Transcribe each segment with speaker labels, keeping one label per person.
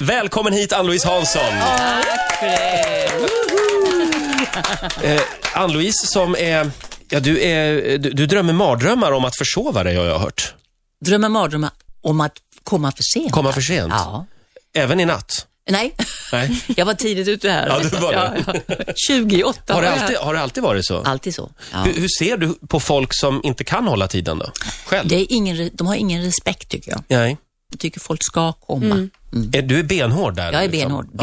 Speaker 1: Välkommen hit Ann-Louise Hansson.
Speaker 2: Tack för det.
Speaker 1: Eh, Ann-Louise som är, ja du är, du, du drömmer mardrömmar om att försova dig har jag hört.
Speaker 2: Drömmer mardrömmar om att komma för sent.
Speaker 1: Komma för sent.
Speaker 2: Ja.
Speaker 1: Även i natt.
Speaker 2: Nej,
Speaker 1: Nej.
Speaker 2: jag var tidigt ute här.
Speaker 1: Ja, du var det.
Speaker 2: Ja, ja. 28
Speaker 1: Har det
Speaker 2: var jag.
Speaker 1: alltid, har det alltid varit så?
Speaker 2: Alltid så. Ja.
Speaker 1: Hur, hur ser du på folk som inte kan hålla tiden då? Själv?
Speaker 2: Det är ingen, re- de har ingen respekt tycker jag.
Speaker 1: Nej.
Speaker 2: Jag tycker folk ska komma.
Speaker 1: Är, du är benhård där?
Speaker 2: Jag är
Speaker 1: liksom?
Speaker 2: benhård.
Speaker 1: Ja.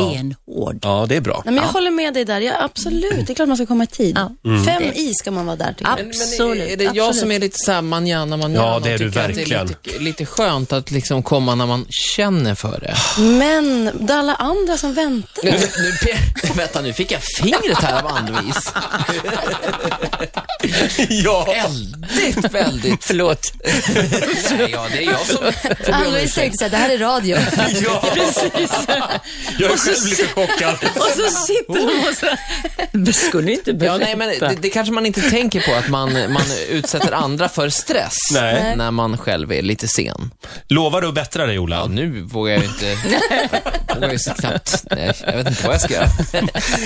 Speaker 2: Benhård.
Speaker 1: Ja, det är bra.
Speaker 3: Nej, men jag håller med dig där. Ja, absolut, det är klart man ska komma i tid. Fem i ska man vara där tycker jag.
Speaker 2: Absolut.
Speaker 4: Är det jag
Speaker 3: Absolut.
Speaker 4: som är lite såhär manjana, manjana
Speaker 1: Ja, det är
Speaker 4: och
Speaker 1: du
Speaker 4: tycker
Speaker 1: verkligen.
Speaker 4: Att det är lite, lite skönt att liksom komma när man känner för det.
Speaker 3: Men det är alla andra som väntar.
Speaker 4: nu, nu, pe- vänta, nu fick jag fingret här av Ann-Louise.
Speaker 1: ja.
Speaker 4: Väldigt, väldigt. Förlåt. Nej, ja, det är jag som får be om
Speaker 3: Ann-Louise
Speaker 4: ursäkt.
Speaker 3: tänkte såhär, det här är radio.
Speaker 1: ja. Jag är själv lite chockad.
Speaker 2: Och så sitter de och så... Skulle inte
Speaker 4: Ja,
Speaker 2: berätta.
Speaker 4: nej, men det, det kanske man inte tänker på, att man, man utsätter andra för stress
Speaker 1: Nej.
Speaker 4: när man själv är lite sen.
Speaker 1: Lovar du att bättra dig, Ola?
Speaker 4: Ja, nu vågar jag ju inte... Jag vågar ju så knappt... Nej, jag vet inte vad jag ska göra.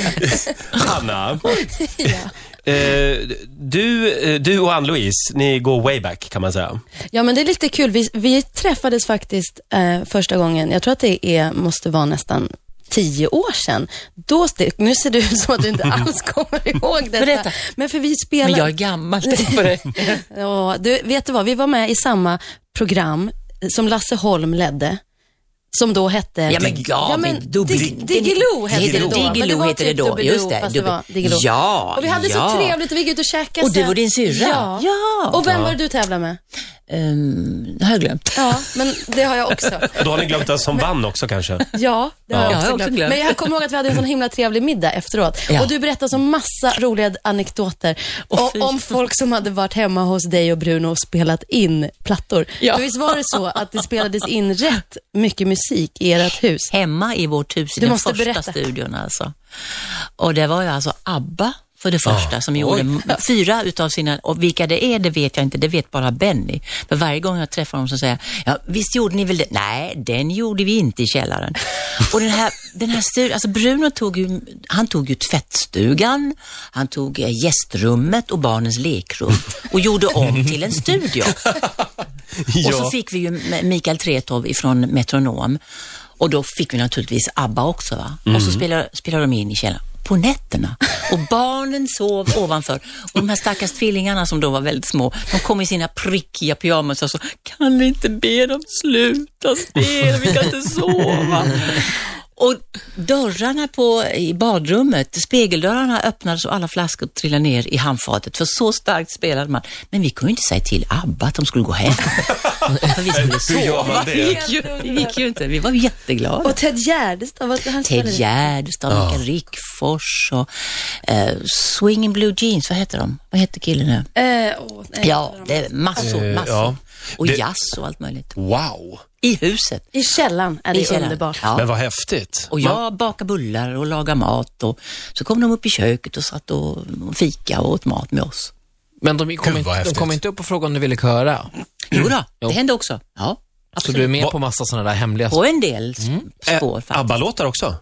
Speaker 1: Hanna, eh, du, eh, du och Ann-Louise, ni går way back kan man säga.
Speaker 3: Ja, men det är lite kul. Vi, vi träffades faktiskt eh, första gången, jag tror att det är, måste vara nästan tio år sedan. Då, st- nu ser du ut som att du inte alls kommer ihåg detta.
Speaker 2: Berätta.
Speaker 3: Men för vi spelade...
Speaker 2: Men jag är gammal, tänk på det.
Speaker 3: Ja, du, vet du vad? Vi var med i samma program som Lasse Holm ledde. Som då hette...
Speaker 2: Ja, men ja, men dubbel-
Speaker 3: Dig- Diggiloo hette det då. men
Speaker 2: Diggiloo
Speaker 3: var
Speaker 2: hette det
Speaker 3: typ
Speaker 2: då,
Speaker 3: Dubbeloo,
Speaker 2: just det,
Speaker 3: Fast det var
Speaker 2: dubbel-
Speaker 3: Diggiloo.
Speaker 2: Ja,
Speaker 3: Och vi hade
Speaker 2: ja.
Speaker 3: så trevligt och vi gick ut och käkade.
Speaker 2: Och du
Speaker 3: sen.
Speaker 2: och din syrra.
Speaker 3: Ja.
Speaker 2: Ja.
Speaker 3: Och vem var det du tävlade med?
Speaker 2: Ehm, det har jag glömt.
Speaker 3: Ja, men det har jag också.
Speaker 1: Då har ni glömt den som vann också kanske.
Speaker 3: Ja, det har
Speaker 2: Ja, jag
Speaker 3: jag också
Speaker 2: har också
Speaker 3: glömt.
Speaker 2: glömt.
Speaker 3: Men jag kommer ihåg att vi hade en sån himla trevlig middag efteråt.
Speaker 2: Ja.
Speaker 3: Och du berättade så massa roliga anekdoter
Speaker 2: Åh,
Speaker 3: om,
Speaker 2: fy.
Speaker 3: om folk som hade varit hemma hos dig och Bruno och spelat in plattor.
Speaker 2: Ja.
Speaker 3: För visst var det så att det spelades in rätt mycket musik i ert hus?
Speaker 2: hemma i vårt hus, i
Speaker 3: Du
Speaker 2: den
Speaker 3: måste
Speaker 2: första
Speaker 3: berätta.
Speaker 2: studion alltså. Och det var ju alltså ABBA för det första som gjorde m- fyra utav sina, och vilka det är det vet jag inte, det vet bara Benny. För varje gång jag träffar honom så säger jag, ja, visst gjorde ni väl det? Nej, den gjorde vi inte i källaren. och den här, den här studion, alltså Bruno tog ju, han tog ju tvättstugan, han tog eh, gästrummet och barnens lekrum och gjorde om till en studio. Och så fick vi ju M- Mikael Tretow ifrån Metronom. Och då fick vi naturligtvis ABBA också. Va? Och så spelade, spelade de in i källaren på nätterna. Och barnen sov ovanför. Och de här stackars tvillingarna som då var väldigt små, de kom i sina prickiga pyjamas och så, kan ni inte be dem sluta spela, vi kan inte sova. Och dörrarna på, i badrummet, spegeldörrarna öppnades och alla flaskor trillade ner i handfatet, för så starkt spelade man. Men vi kunde ju inte säga till ABBA att de skulle gå hem. för vi skulle
Speaker 1: Hur gör man
Speaker 2: sova.
Speaker 1: det?
Speaker 2: Det gick, ju, det gick ju inte. Vi var ju jätteglada.
Speaker 3: Och Ted Gärdestad, vad han
Speaker 2: Ted
Speaker 3: spelade?
Speaker 2: Gärdestad, Mikael Rickfors och eh, Swingin' Blue Jeans, vad heter de? Vad heter killen nu?
Speaker 3: Eh, åh, nej.
Speaker 2: Ja, det är massor,
Speaker 1: Eh,
Speaker 2: massor.
Speaker 1: ja.
Speaker 2: Och
Speaker 1: Det-
Speaker 2: jazz och allt möjligt.
Speaker 1: Wow,
Speaker 2: I huset.
Speaker 3: I källaren är det
Speaker 2: I källaren.
Speaker 3: underbart.
Speaker 2: Ja.
Speaker 1: men vad häftigt.
Speaker 2: Och
Speaker 1: Man-
Speaker 2: jag bakade bullar och lagade mat och så kom de upp i köket och satt och fika och åt mat med oss.
Speaker 4: Men de kom,
Speaker 1: Gud, vad
Speaker 4: inte, de
Speaker 1: häftigt.
Speaker 4: kom inte upp och frågade om du ville köra.
Speaker 2: Jo
Speaker 1: Mm.
Speaker 2: då,
Speaker 4: Jo.
Speaker 2: det hände också. Ja,
Speaker 4: Så du är
Speaker 2: absolut.
Speaker 4: med på massa sådana där hemliga
Speaker 2: På en del s- spår
Speaker 1: Eh,
Speaker 2: faktiskt.
Speaker 1: ABBA-låtar också.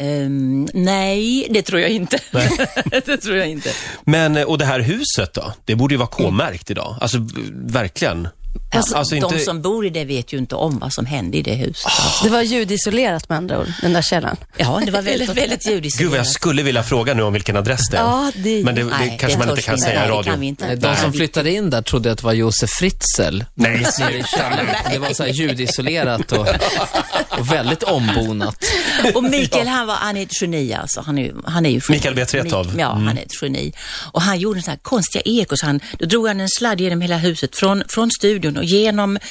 Speaker 2: Ehm, nej, det tror jag inte. det tror jag inte.
Speaker 1: Men, eh, och det här huset då? Det borde ju vara K-märkt idag. Alltså, v- verkligen.
Speaker 2: Mm. Alltså,
Speaker 1: alltså,
Speaker 2: De
Speaker 1: inte- Ah.
Speaker 2: som bor i det vet ju inte om vad som hände i det huset.
Speaker 3: Det var ljudisolerat med andra ord, den där källaren.
Speaker 2: Ja, det var väldigt, väldigt judiskt.
Speaker 1: Gud vad jag skulle vilja fråga nu om vilken adress det är.
Speaker 3: Ja, det-
Speaker 1: Men det, det
Speaker 2: Nej,
Speaker 1: kanske man inte
Speaker 2: törs
Speaker 1: kan
Speaker 2: vi
Speaker 1: säga i
Speaker 2: Nej, det
Speaker 1: radio.
Speaker 2: kan vi inte.
Speaker 4: De som flyttade in där trodde att det var Josef Fritzl.
Speaker 1: Nej,
Speaker 4: Nere i källaren. Det var så här ljudisolerat och, och väldigt ombonat.
Speaker 2: Och Mikael, han, var, han är ett geni alltså. Han är, ju- han är ju geni.
Speaker 1: Mikael Betretow.
Speaker 2: Mik- Ja, han är ett geni. Och han gjorde en sån här konstiga ekos. Han, då drog han en sladd genom hela huset, från, från studion och genom eh,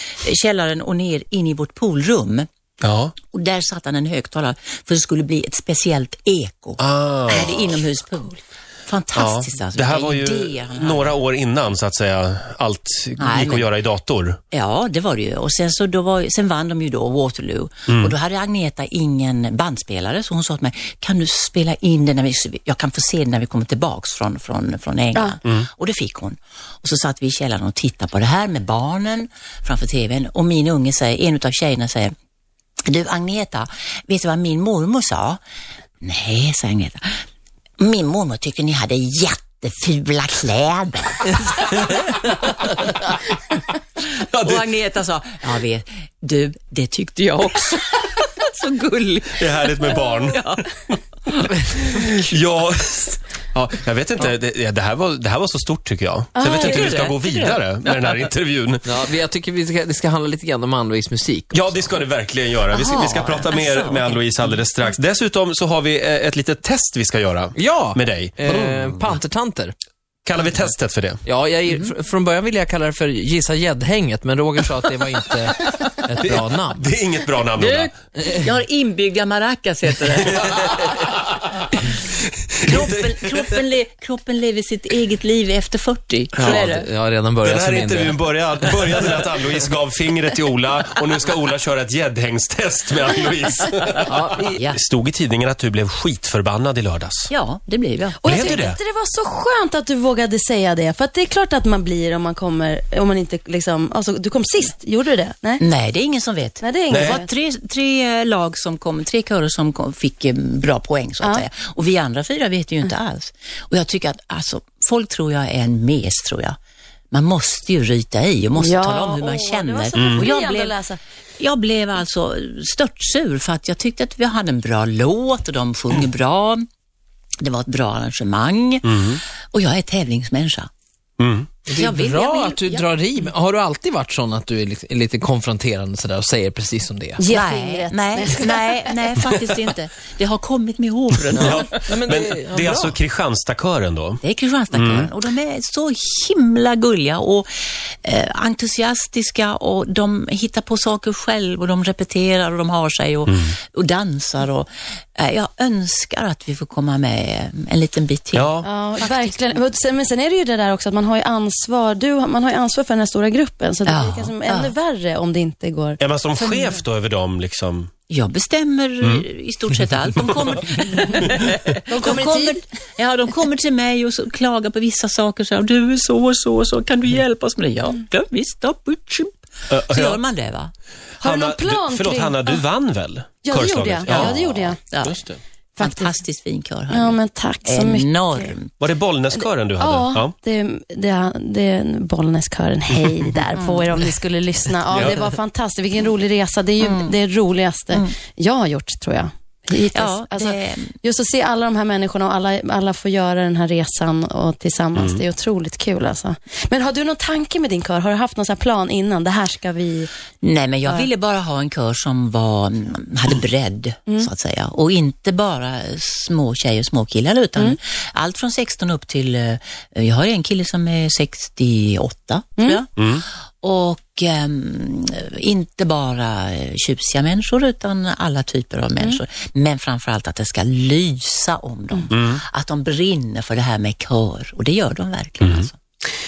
Speaker 2: källaren och ner in i vårt poolrum.
Speaker 1: Ja.
Speaker 2: Och där satte han en högtalare för det skulle bli ett speciellt eko.
Speaker 1: Ah.
Speaker 2: Han hade inomhuspool.
Speaker 1: Ja,
Speaker 2: Fantastiskt alltså.
Speaker 1: det här
Speaker 2: vilka
Speaker 1: var ju
Speaker 2: idéer han hade.
Speaker 1: några år innan så att säga allt
Speaker 2: Nej,
Speaker 1: gick att
Speaker 2: men-
Speaker 1: göra i dator.
Speaker 2: Ja, det var det ju. Och sen, så då var, sen vann de ju då Waterloo. Och då hade Agneta ingen bandspelare, så hon sa till mig, kan du spela in det när vi, jag kan få se det när vi kommer tillbaks från, från, från England. Och det fick hon. Och så satt vi i källaren och tittade på det här med barnen framför TVn. Och min unge säger, en av tjejerna säger, Du Agneta, vet du vad min mormor sa? Nej, sa Agneta. Min mormor tyckte ni hade jättefula kläder.
Speaker 1: Ja,
Speaker 2: Och
Speaker 1: det,
Speaker 2: Agneta sa, jag vet, du, det tyckte jag också. Så gullig.
Speaker 1: det är härligt med barn.
Speaker 2: Ja.
Speaker 1: Ja, ja, jag vet inte. Det, det, här var, det här var så stort tycker jag. Så jag vet inte hur vi ska
Speaker 2: Ah, det?
Speaker 1: gå vidare med den här intervjun.
Speaker 4: Ja, men jag tycker vi ska, det ska handla lite grann om Ann-Louise musik.
Speaker 1: Ja, det ska det verkligen göra. Vi ska, vi ska
Speaker 2: Aha,
Speaker 1: prata mer
Speaker 2: alltså.
Speaker 1: med Ann-Louise alldeles strax. Dessutom så har vi eh, ett litet test vi ska göra
Speaker 4: Ja!
Speaker 1: med dig.
Speaker 4: Eh, pantertanter.
Speaker 1: Kallar vi testet för det?
Speaker 4: Ja, jag, fr- från början ville jag kalla det för Gissa gäddhänget, men Roger sa att det var inte ett bra namn.
Speaker 1: Det är inget bra namn, Ola.
Speaker 2: Du, jag har inbyggda maracas heter det. kroppen, kroppen, le, kroppen lever sitt eget liv efter 40. Så
Speaker 4: Ja,
Speaker 2: är det.
Speaker 4: det- jag har redan börjat
Speaker 1: Den här
Speaker 4: som mindre.
Speaker 1: intervjun började, började med att Ann-Louise gav fingret till Ola och nu ska Ola köra ett gäddhängstest med Ann-Louise.
Speaker 4: Ja, i-
Speaker 2: Ja.
Speaker 1: Det stod i tidningen att du blev skitförbannad i lördags.
Speaker 2: ja, det blev jag.
Speaker 3: Och
Speaker 1: Blev
Speaker 3: jag
Speaker 1: du
Speaker 3: tyckte
Speaker 1: det?
Speaker 3: inte det var så skönt att du vågade säga det. För att det är klart att man blir om man kommer, om man inte liksom, alltså du kom sist, gjorde du det? Nej?
Speaker 2: Nej, det är ingen som vet.
Speaker 3: Nej, det är ingen
Speaker 2: Det
Speaker 3: som
Speaker 2: var
Speaker 3: vet.
Speaker 2: tre, tre eh, lag som kom, tre körer som kom, fick eh, bra poäng så att
Speaker 3: Ja.
Speaker 2: säga. Och vi andra fyra vet ju inte alls. Och jag tycker att alltså, folk tror jag är en mes, tror jag. Man måste ju ryta i och måste
Speaker 3: Ja,
Speaker 2: tala om hur man
Speaker 3: åh, det var
Speaker 2: känner.
Speaker 3: så befriande
Speaker 2: Och jag,
Speaker 3: att
Speaker 2: blev,
Speaker 3: läsa.
Speaker 2: jag blev alltså störtsur för att jag tyckte att vi hade en bra låt och de sjunger bra. Det var ett bra arrangemang och jag är tävlingsmänniska.
Speaker 4: Det är
Speaker 2: Jag vill-
Speaker 4: bra
Speaker 2: jag vill-
Speaker 4: att du
Speaker 2: jag-
Speaker 4: drar i. men Har du alltid varit sån att du är lite, är lite konfronterande sådär och säger precis som det är?
Speaker 3: Ge
Speaker 2: Nej,
Speaker 3: fingret.
Speaker 2: nej, nej, nej, faktiskt inte. Det har kommit med åren.
Speaker 4: men
Speaker 1: Men
Speaker 4: det- ja,
Speaker 1: det är
Speaker 4: bra.
Speaker 1: alltså Kristianstadkören då?
Speaker 2: Det är Kristianstadskören och de är så himla gulliga och eh, entusiastiska och de hittar på saker själv och de repeterar och de har sig och, och dansar. Och, eh, jag önskar att vi får komma med eh, en liten bit till.
Speaker 1: Ja.
Speaker 3: Ja, verkligen. Men sen- Men sen är det ju det där också att man har ju ansvar, du, har- man har ju ansvar för den här stora gruppen. Så det
Speaker 2: Ja,
Speaker 3: blir kanske ännu värre om det inte går.
Speaker 1: Är man som chef då över dem liksom?
Speaker 2: Jag bestämmer i stort sett allt. De kommer,
Speaker 3: De
Speaker 2: de, kommer, ja, de kommer till mig och så klagar på vissa saker. Så här, du är så och så och så, kan du hjälpa oss med det? Ja, ja visst. då. Så
Speaker 1: ja.
Speaker 2: gör man det va?
Speaker 3: Har du någon plan
Speaker 1: du, förlåt
Speaker 3: kring-
Speaker 1: Hanna, du vann väl?
Speaker 3: Ja, det gjorde jag.
Speaker 1: Körslaget?
Speaker 3: Ja, det gjorde jag.
Speaker 2: Ja.
Speaker 1: Just det.
Speaker 2: Fantastiskt fin kör. hörni.
Speaker 3: Ja, men tack så mycket.
Speaker 2: Enorm.
Speaker 1: Var det Bollnäskören du hade?
Speaker 3: Ja, Det, det, det är en Bollnäskören. Hej där på er om ni skulle lyssna. Ja, det var fantastiskt. Vilken rolig resa. Det är ju
Speaker 2: Mm.
Speaker 3: det roligaste jag har gjort, tror jag. Hittills.
Speaker 2: Ja,
Speaker 3: alltså,
Speaker 2: det-
Speaker 3: Just att se alla de här människorna och alla, alla får göra den här resan och tillsammans. Det är otroligt kul. Alltså. Men har du någon tanke med din kör? Har du haft någon sån här plan innan? Det här ska vi...
Speaker 2: Nej, men jag ville bara ha en kör som var, mm, hade bredd,
Speaker 3: Mm.
Speaker 2: så att säga. Och inte bara eh, små tjejer och små killar, utan
Speaker 3: Mm.
Speaker 2: allt från 16 upp till... eh, Jag har en kille som är 68, tror
Speaker 3: Mm.
Speaker 2: jag. Och ehm, inte bara eh, tjusiga människor, utan alla typer av
Speaker 3: Mm.
Speaker 2: människor. Men framförallt att det ska lysa om dem.
Speaker 3: Mm.
Speaker 2: Att de brinner för det här med kör. Och det gör de verkligen. Alltså.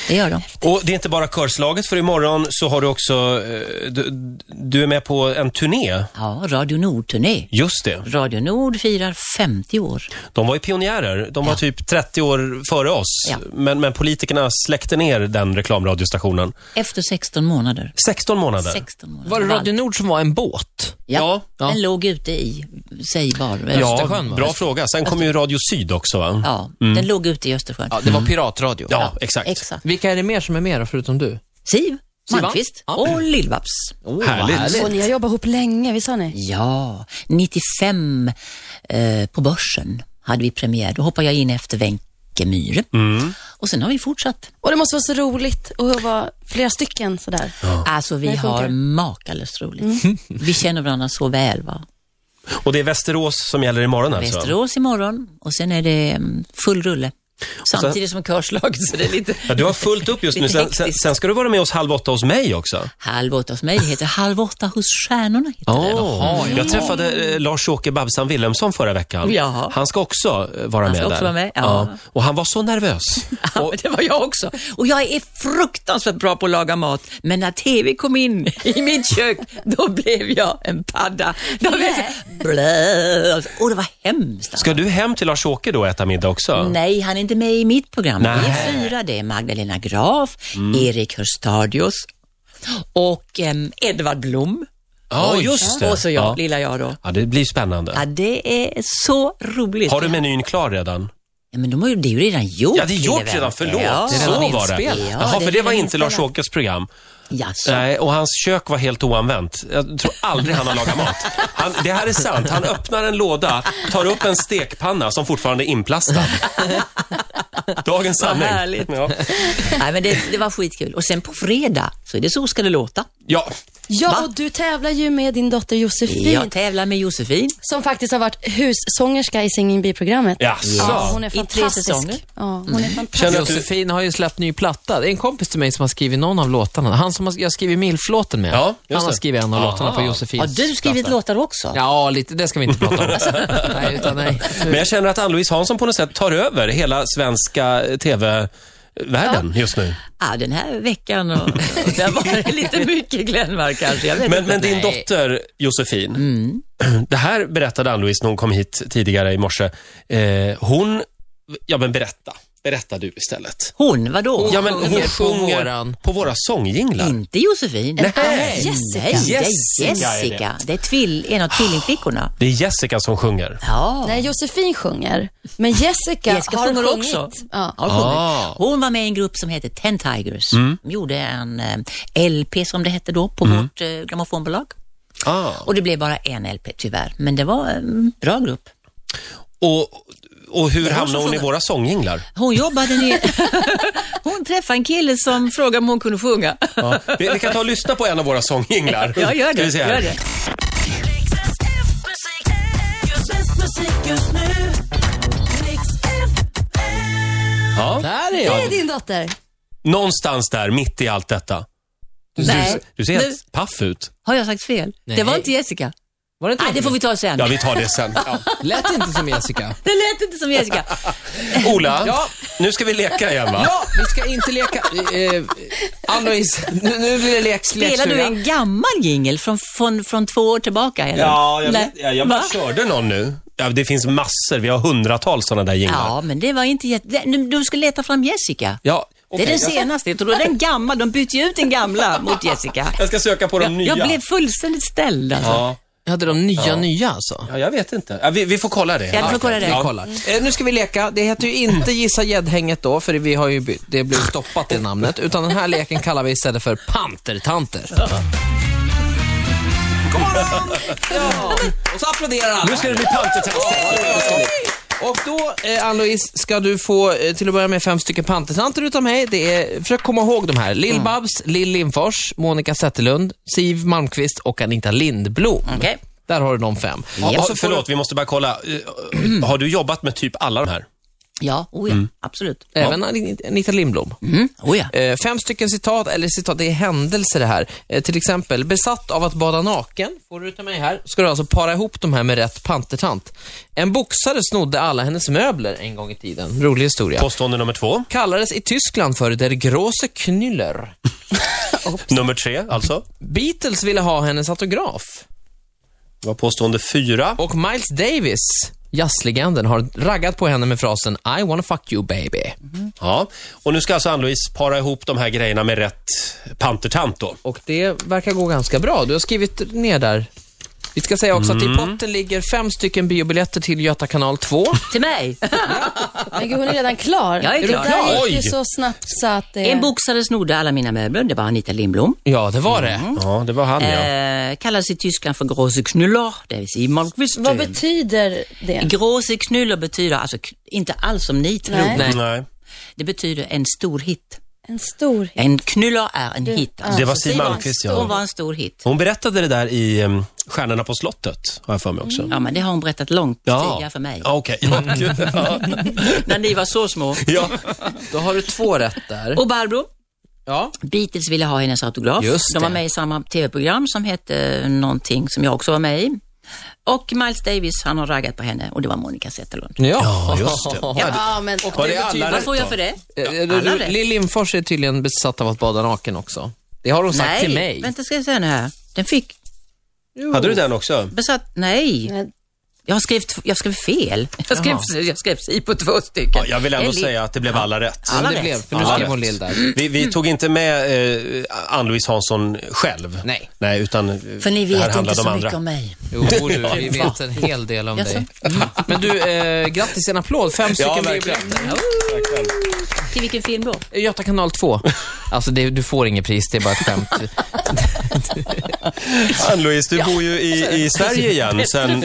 Speaker 2: Det gör de.
Speaker 1: Och det är inte bara körslaget, för imorgon så har du också, eh, du, du är med på en turné.
Speaker 2: Ja, Radio Nord-turné.
Speaker 1: Just det.
Speaker 2: Radio Nord firar 50 år.
Speaker 1: De var ju pionjärer. De var typ 30 år före oss.
Speaker 2: Ja.
Speaker 1: Men, men politikerna släckte ner den reklamradiostationen.
Speaker 2: Efter 16 månader.
Speaker 1: 16 månader.
Speaker 2: 16 månader.
Speaker 4: Var det Radio Nord som var en båt?
Speaker 2: Ja,
Speaker 4: Ja.
Speaker 2: den låg ute i Sägbar.
Speaker 4: Östersjön,
Speaker 1: Ja,
Speaker 4: va?
Speaker 1: bra fråga. Sen kom ju Radio Syd också, va?
Speaker 2: Ja, den låg ute i Östersjön.
Speaker 4: Mm. Ja, det var piratradio.
Speaker 1: Ja, exakt.
Speaker 2: Exakt.
Speaker 4: Vilka är det mer som är med då, förutom du?
Speaker 2: Siv
Speaker 4: Sivan?
Speaker 2: Malmqvist
Speaker 4: Ja.
Speaker 2: och Lill-Babs.
Speaker 4: Oh, vad
Speaker 1: Härligt.
Speaker 3: Och ni har jobbat ihop länge, visst har ni?
Speaker 2: Ja, 95 eh, på Börsen hade vi premiär. Då hoppade jag in efter Wenche Myhre.
Speaker 4: Mm.
Speaker 2: Och sen har vi fortsatt.
Speaker 3: Och det måste vara så roligt att vara flera stycken sådär.
Speaker 2: Alltså vi
Speaker 3: Det funkar.
Speaker 2: har makalöst roligt.
Speaker 4: Mm.
Speaker 2: Vi känner varandra så väl. Va?
Speaker 1: Och det är Västerås som gäller imorgon alltså?
Speaker 2: Västerås imorgon och sen är det mm, full rulle. Samtidigt som körslaget så det är lite
Speaker 1: Ja, du har fullt upp just nu. Sen, sen, sen ska du vara med oss halv åtta hos mig också.
Speaker 2: Halv åtta hos mig heter Halv åtta hos stjärnorna. Heter den.
Speaker 1: Jaha, jag träffade eh, Lars-Åke Babsan Wilhelmsson förra veckan.
Speaker 2: Jaha.
Speaker 1: Han ska också eh, vara
Speaker 2: Han
Speaker 1: med
Speaker 2: ska också
Speaker 1: där.
Speaker 2: vara med, ja.
Speaker 1: Och han var så nervös.
Speaker 2: Ja, men det var jag också. Och jag är fruktansvärt bra på att laga mat, men när TV kom in i mitt kök, då blev jag en padda. Då blev jag så, blä, och det var hemskt. alltså.
Speaker 1: Ska du hem till Lars-Åke då och äta middag också?
Speaker 2: Nej, han är inte med i mitt program. Vi
Speaker 1: Nej. Mm.
Speaker 2: är fyra. Det är Magdalena Graf, Erik Hörstadius och em, ehm, Edvard Blom.
Speaker 1: Ja, just det.
Speaker 2: Och så jag,
Speaker 1: Ja.
Speaker 2: lilla jag då.
Speaker 1: Ja, det blir spännande.
Speaker 2: Ja, det är så roligt.
Speaker 1: Har du menyn klar redan?
Speaker 2: ja, men de har ju, det är ju redan gjort.
Speaker 1: Ja, det är
Speaker 2: lille
Speaker 1: gjort
Speaker 2: vän.
Speaker 1: redan. Förlåt.
Speaker 2: Ja,
Speaker 1: Så
Speaker 4: redan
Speaker 1: var det.
Speaker 4: inspelat.
Speaker 2: Ja,
Speaker 1: Jaha,
Speaker 2: det
Speaker 1: för
Speaker 2: är
Speaker 1: det var
Speaker 2: redan
Speaker 1: inte Lars
Speaker 2: inspelat.
Speaker 1: Åkes program.
Speaker 2: Jaså?
Speaker 1: Nej, och hans kök var helt oanvänt. Jag tror aldrig han har lagat mat. Han, det här är sant. Han öppnar en låda, tar upp en stekpanna som fortfarande är inplastad. Dagens
Speaker 2: Vad
Speaker 1: sanning.
Speaker 2: härligt.
Speaker 1: Ja.
Speaker 2: Nej, men det, det var skitkul. Och sen på fredag så är det Så ska det låta.
Speaker 1: ja,
Speaker 3: Ja,
Speaker 2: Va?
Speaker 3: och du tävlar ju med din dotter Josefin,
Speaker 2: Jag tävlar med Josefin.
Speaker 3: som faktiskt har varit hussångerska i Singing Bee-programmet.
Speaker 1: Jaså.
Speaker 3: Ja, hon är
Speaker 2: I tre
Speaker 3: fantastisk.
Speaker 2: säsonger.
Speaker 3: Ja, hon
Speaker 2: Mm.
Speaker 3: är fantastisk.
Speaker 1: Känner att du...
Speaker 4: Josefin har ju släppt ny platta. Det är en kompis till mig som har skrivit någon av låtarna. Han som har, jag har skrivit Milf-låten med.
Speaker 1: Ja, just
Speaker 4: han har
Speaker 1: det. Ah.
Speaker 4: skrivit en av
Speaker 1: Aha.
Speaker 4: låtarna på Josefins
Speaker 2: Har du skrivit
Speaker 4: platta.
Speaker 2: låtar också?
Speaker 4: Ja, lite. Det ska vi inte prata om. nej, utan nej.
Speaker 1: Men jag känner att Ann-Louise Hansson på något sätt tar över hela svenska eh, TV-världen just nu.
Speaker 2: Ja, den här veckan och, och där var det lite mycket Glenmark kanske. Jag vet
Speaker 1: Men,
Speaker 2: inte.
Speaker 1: men din
Speaker 2: Nej. Mm.
Speaker 1: dotter Josefin, det här berättade Ann-Louise när hon kom hit tidigare i morse. Eh, hon, ja men berätta, berätta du istället.
Speaker 2: Hon, vadå?
Speaker 1: Ja men hon
Speaker 4: sjunger på
Speaker 1: sjunger
Speaker 4: våran-
Speaker 1: på våra sångjinglar.
Speaker 2: Inte Josefin.
Speaker 1: Nej.
Speaker 2: Jessica. Nej, det
Speaker 1: Jessica
Speaker 2: är
Speaker 1: är det.
Speaker 2: Jessica. Det är tvill, en av tvillingflickorna.
Speaker 1: Det är Jessica som sjunger.
Speaker 2: Ja.
Speaker 3: Nej, Josefin sjunger, men Jessica,
Speaker 2: Jessica
Speaker 3: har
Speaker 2: sjunger
Speaker 3: sjungit.
Speaker 2: också.
Speaker 3: Ja.
Speaker 2: Har sjungit.
Speaker 1: Ah. Mm.
Speaker 2: Hon var med i en grupp som hette Ten Tigers. De gjorde en eh, LP som det hette då på vårt eh, grammofonbolag.
Speaker 1: Ah.
Speaker 2: Och det blev bara en LP tyvärr, men det var en bra grupp.
Speaker 1: Och, och hur
Speaker 2: som
Speaker 1: hamnade hon i
Speaker 2: sjunger.
Speaker 1: våra sångjinglar?
Speaker 2: Hon jobbade ner... hon träffade en kille som frågade om hon kunde sjunga.
Speaker 1: Ja. Vi, vi kan ta och lyssna på en av våra sångjinglar.
Speaker 2: Ja, gör
Speaker 1: Ska vi
Speaker 2: det.
Speaker 1: se här.
Speaker 2: Gör det.
Speaker 5: Rix FM-musik, just svensk musik just nu. Rix FM.
Speaker 1: Ja.
Speaker 4: Där är
Speaker 3: Det
Speaker 4: jag.
Speaker 3: är din dotter.
Speaker 1: Någonstans där, mitt i allt detta. Du,
Speaker 2: Nej.
Speaker 1: du ser
Speaker 2: Nu-
Speaker 1: helt paff ut.
Speaker 2: Har jag sagt fel?
Speaker 4: Nej.
Speaker 2: Det var inte Jessica.
Speaker 4: Var det inte
Speaker 2: Nej, det får vi ta sen.
Speaker 1: Ja, vi tar det sen. Ja.
Speaker 4: Lät inte som Jessica.
Speaker 2: Det lät inte som Jessica.
Speaker 1: Ola,
Speaker 4: Ja.
Speaker 1: nu ska vi leka igen va?
Speaker 4: Ja, vi ska inte leka... Eh, Ann-Louise, nu, nu blir det lek,
Speaker 2: Spelar du
Speaker 4: lekstuga.
Speaker 2: en gammal jingel från, från, från två år tillbaka? Eller?
Speaker 1: Ja, jag,
Speaker 2: Nej.
Speaker 1: vet, jag, jag
Speaker 2: Va?
Speaker 1: bara körde någon nu. Ja, det finns massor, vi har hundratals sådana där jinglar.
Speaker 2: Ja, men det var inte Jessica. Det- nu- Du ska leta fram Jessica.
Speaker 1: Ja, okej,
Speaker 2: det är den
Speaker 1: jag,
Speaker 2: senaste. Jag tror det är den gamla. De bytte ju ut den gamla mot Jessica.
Speaker 1: jag ska söka på de nya.
Speaker 2: Jag blev fullständigt ställd alltså.
Speaker 1: ja.
Speaker 4: Hade de nya, nya alltså?
Speaker 1: ja, jag vet inte. Ja, vi, vi får kolla det.
Speaker 2: Ja, vi får kolla det.
Speaker 4: Vi
Speaker 1: Ja.
Speaker 4: kollar. Eh, nu ska vi leka. Det heter ju inte Gissa gäddhänget då, för vi har ju by- det blev stoppat det namnet. Utan den här leken kallar vi istället för Pantertanter. God morgon! Ja. Och så applåderar alla.
Speaker 1: Nu ska det bli pantertest.
Speaker 4: Och då, eh, Ann-Louise, ska du få eh, till att börja med fem stycken pantertanter utav mig. Det är, försök komma ihåg de här. Lill babs Lill Lindfors, Monica Zetterlund, Siv Malmqvist och Anita Lindblom.
Speaker 2: Okej.
Speaker 4: Där har du de fem.
Speaker 2: Mm. Ja,
Speaker 1: Ja,
Speaker 4: Och så får
Speaker 1: Alltså, förlåt, vi måste bara kolla. Eh, Har du jobbat med typ alla de här?
Speaker 2: Ja, oh
Speaker 1: Mm.
Speaker 2: ja. absolut.
Speaker 4: du Även Anita Lindblom.
Speaker 2: Mm. Oh ja.
Speaker 4: Eh, fem stycken citat, eller citat, det är händelser det här. Eh, till exempel, besatt av att bada naken, får du ta mig här, ska du alltså para ihop de här med rätt pantertant. En boxare snodde alla hennes möbler en gång i tiden. Rolig historia.
Speaker 1: Påstående nummer två.
Speaker 4: Kallades i Tyskland för Der Große Knüller.
Speaker 1: Nummer tre, alltså.
Speaker 4: Beatles ville ha hennes autograf.
Speaker 1: Det var påstående fyra.
Speaker 4: Och Miles Davis, jazzlegenden, har raggat på henne med frasen I wanna fuck you baby.
Speaker 1: Ja. Och nu ska alltså Ann-Louise para ihop de här grejerna med rätt pantertant då.
Speaker 4: Och det verkar gå ganska bra. Du har skrivit ner där. Vi ska säga också att i potten ligger fem stycken biobiljetter till Göta kanal 2.
Speaker 2: Till mig.
Speaker 3: Men gud, hon är redan klar.
Speaker 2: Jag är
Speaker 3: det
Speaker 2: klar.
Speaker 3: där gick ju
Speaker 1: Oj.
Speaker 3: så snabbt så att eh, det...
Speaker 2: En boxare snodde alla mina möbler. Det var Anita Lindblom.
Speaker 4: Ja, det var det.
Speaker 1: Ja, det var han ja.
Speaker 2: Eh, kallas i Tyskland för Große Knüller. Det vill säga Malmqvist.
Speaker 3: Vad betyder det?
Speaker 2: Große Knüller betyder alltså k- inte alls som ni tror.
Speaker 3: Nej.
Speaker 4: Nej.
Speaker 1: Nej.
Speaker 2: Det betyder en stor hit.
Speaker 3: En stor hit.
Speaker 2: En knulla är en hit. Alltså.
Speaker 1: Det var
Speaker 3: Så
Speaker 1: Siw
Speaker 3: Siw
Speaker 1: Malmkvist,
Speaker 2: Hon
Speaker 1: ja.
Speaker 2: var en stor hit.
Speaker 1: Hon berättade det där i um, Stjärnorna på slottet, har jag för mig också.
Speaker 2: Ja, men det har hon berättat långt
Speaker 1: Ja.
Speaker 2: tidigare Mm. för mig. Mm.
Speaker 1: Ja, Okej. Ja, gud. Ja.
Speaker 2: När ni var så små.
Speaker 1: Ja.
Speaker 4: Då har du två rätt där.
Speaker 2: Och Barbro,
Speaker 4: Ja.
Speaker 2: Beatles ville ha hennes autograf.
Speaker 4: Just
Speaker 2: De var
Speaker 4: det.
Speaker 2: med i samma tv-program som hette eh, någonting som jag också var med i. Och Miles Davis, han har raggat på henne och det var Monica Zetterlund.
Speaker 4: Ja,
Speaker 1: Ja, just det.
Speaker 3: Ja, men...
Speaker 1: Var det alla
Speaker 2: Vad
Speaker 1: rätt
Speaker 2: får jag
Speaker 1: då?
Speaker 2: för det?
Speaker 4: Eh,
Speaker 2: alla
Speaker 4: du-
Speaker 2: rätt.
Speaker 4: Lill Lindfors är tydligen besatt av att bada naken också. Det har hon sagt
Speaker 2: nej,
Speaker 4: till mig.
Speaker 2: vänta ska jag säga nu här. Den fick
Speaker 1: Hade du den också?
Speaker 2: besatt, nej.
Speaker 3: Men-
Speaker 2: Jag har skrivit, jag skrev fel. Jag skrev, jag skrev si på två stycken.
Speaker 1: Ja, jag vill ändå
Speaker 2: Eller-
Speaker 1: säga att det blev alla rätt.
Speaker 2: Alla
Speaker 4: det
Speaker 2: rätt.
Speaker 4: blev, för nu
Speaker 1: Alla
Speaker 4: skrev hon
Speaker 1: rätt.
Speaker 4: lill där.
Speaker 1: Vi, vi tog inte med eh, Ann-Louise Hansson själv.
Speaker 4: Nej.
Speaker 1: Nej, utan eh,
Speaker 2: För ni
Speaker 1: det här
Speaker 2: vet
Speaker 1: handlade
Speaker 2: inte så
Speaker 1: om
Speaker 2: mycket
Speaker 1: andra.
Speaker 2: om mig.
Speaker 4: Jo, du, vi vet en hel del om
Speaker 2: Jaså?
Speaker 4: dig. Mm. Men du, eh, grattis, en applåd. Fem
Speaker 1: Ja,
Speaker 4: stycken
Speaker 1: verkligen.
Speaker 4: biblar.
Speaker 2: Till vilken film då?
Speaker 4: Göta kanal 2. Alltså, det, du får inget pris, det är bara ett skämt.
Speaker 1: Ann-Louise, du bor ju i, i Sverige igen sen...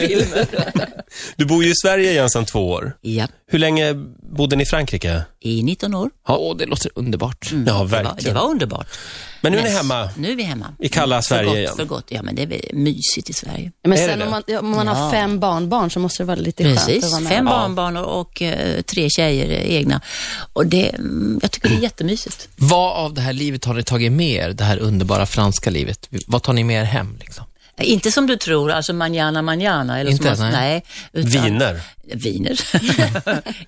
Speaker 1: Du bor ju i Sverige igen sen två år.
Speaker 2: Ja,
Speaker 1: Hur länge bodde ni i Frankrike?
Speaker 2: i 19 år.
Speaker 4: Åh, det låter underbart.
Speaker 1: Ja,
Speaker 2: Det var, det
Speaker 1: verkligen.
Speaker 2: var underbart.
Speaker 1: Men nu är ni
Speaker 2: Men
Speaker 1: hemma
Speaker 2: Nu är vi hemma.
Speaker 1: i kalla
Speaker 2: för
Speaker 1: Sverige
Speaker 2: gott,
Speaker 1: igen.
Speaker 2: För gott. Ja, men det är mysigt i Sverige.
Speaker 3: Men
Speaker 1: Är det
Speaker 3: sen
Speaker 1: det?
Speaker 3: om man, om man har
Speaker 2: Ja.
Speaker 3: fem barnbarn så måste det vara lite skönt att vara
Speaker 2: Precis,
Speaker 3: nära.
Speaker 2: fem barnbarn och, och eh, tre tjejer eh, egna. Och det, mm, jag tycker det är jättemysigt.
Speaker 4: Vad av det här livet har ni tagit med er? Det här underbara franska livet. Vad tar ni med er hem? Liksom?
Speaker 2: Inte som du tror, alltså manjana manjana. Eller
Speaker 4: Inte,
Speaker 2: som man,
Speaker 4: nej.
Speaker 2: nej. utan-
Speaker 1: Viner.
Speaker 2: Viner.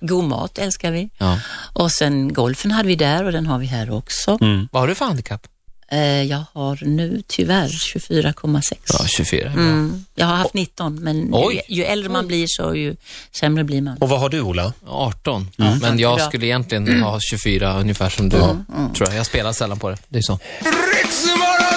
Speaker 2: God mat älskar vi.
Speaker 4: Ja.
Speaker 2: Och sen golfen hade vi där och den har vi här också.
Speaker 4: Vad har du för handikapp?
Speaker 2: Eh, jag har nu tyvärr 24,6.
Speaker 4: Ja, 24.
Speaker 2: Mm. Jag har haft 19, men ju,
Speaker 4: Oj.
Speaker 2: ju äldre man blir så ju sämre blir man.
Speaker 1: Och vad har du, Ola?
Speaker 4: 18. Men jag
Speaker 2: Bra.
Speaker 4: skulle egentligen ha 24 ungefär som du, tror jag. Jag spelar sällan på det. Det är så.
Speaker 6: Ritzmorgon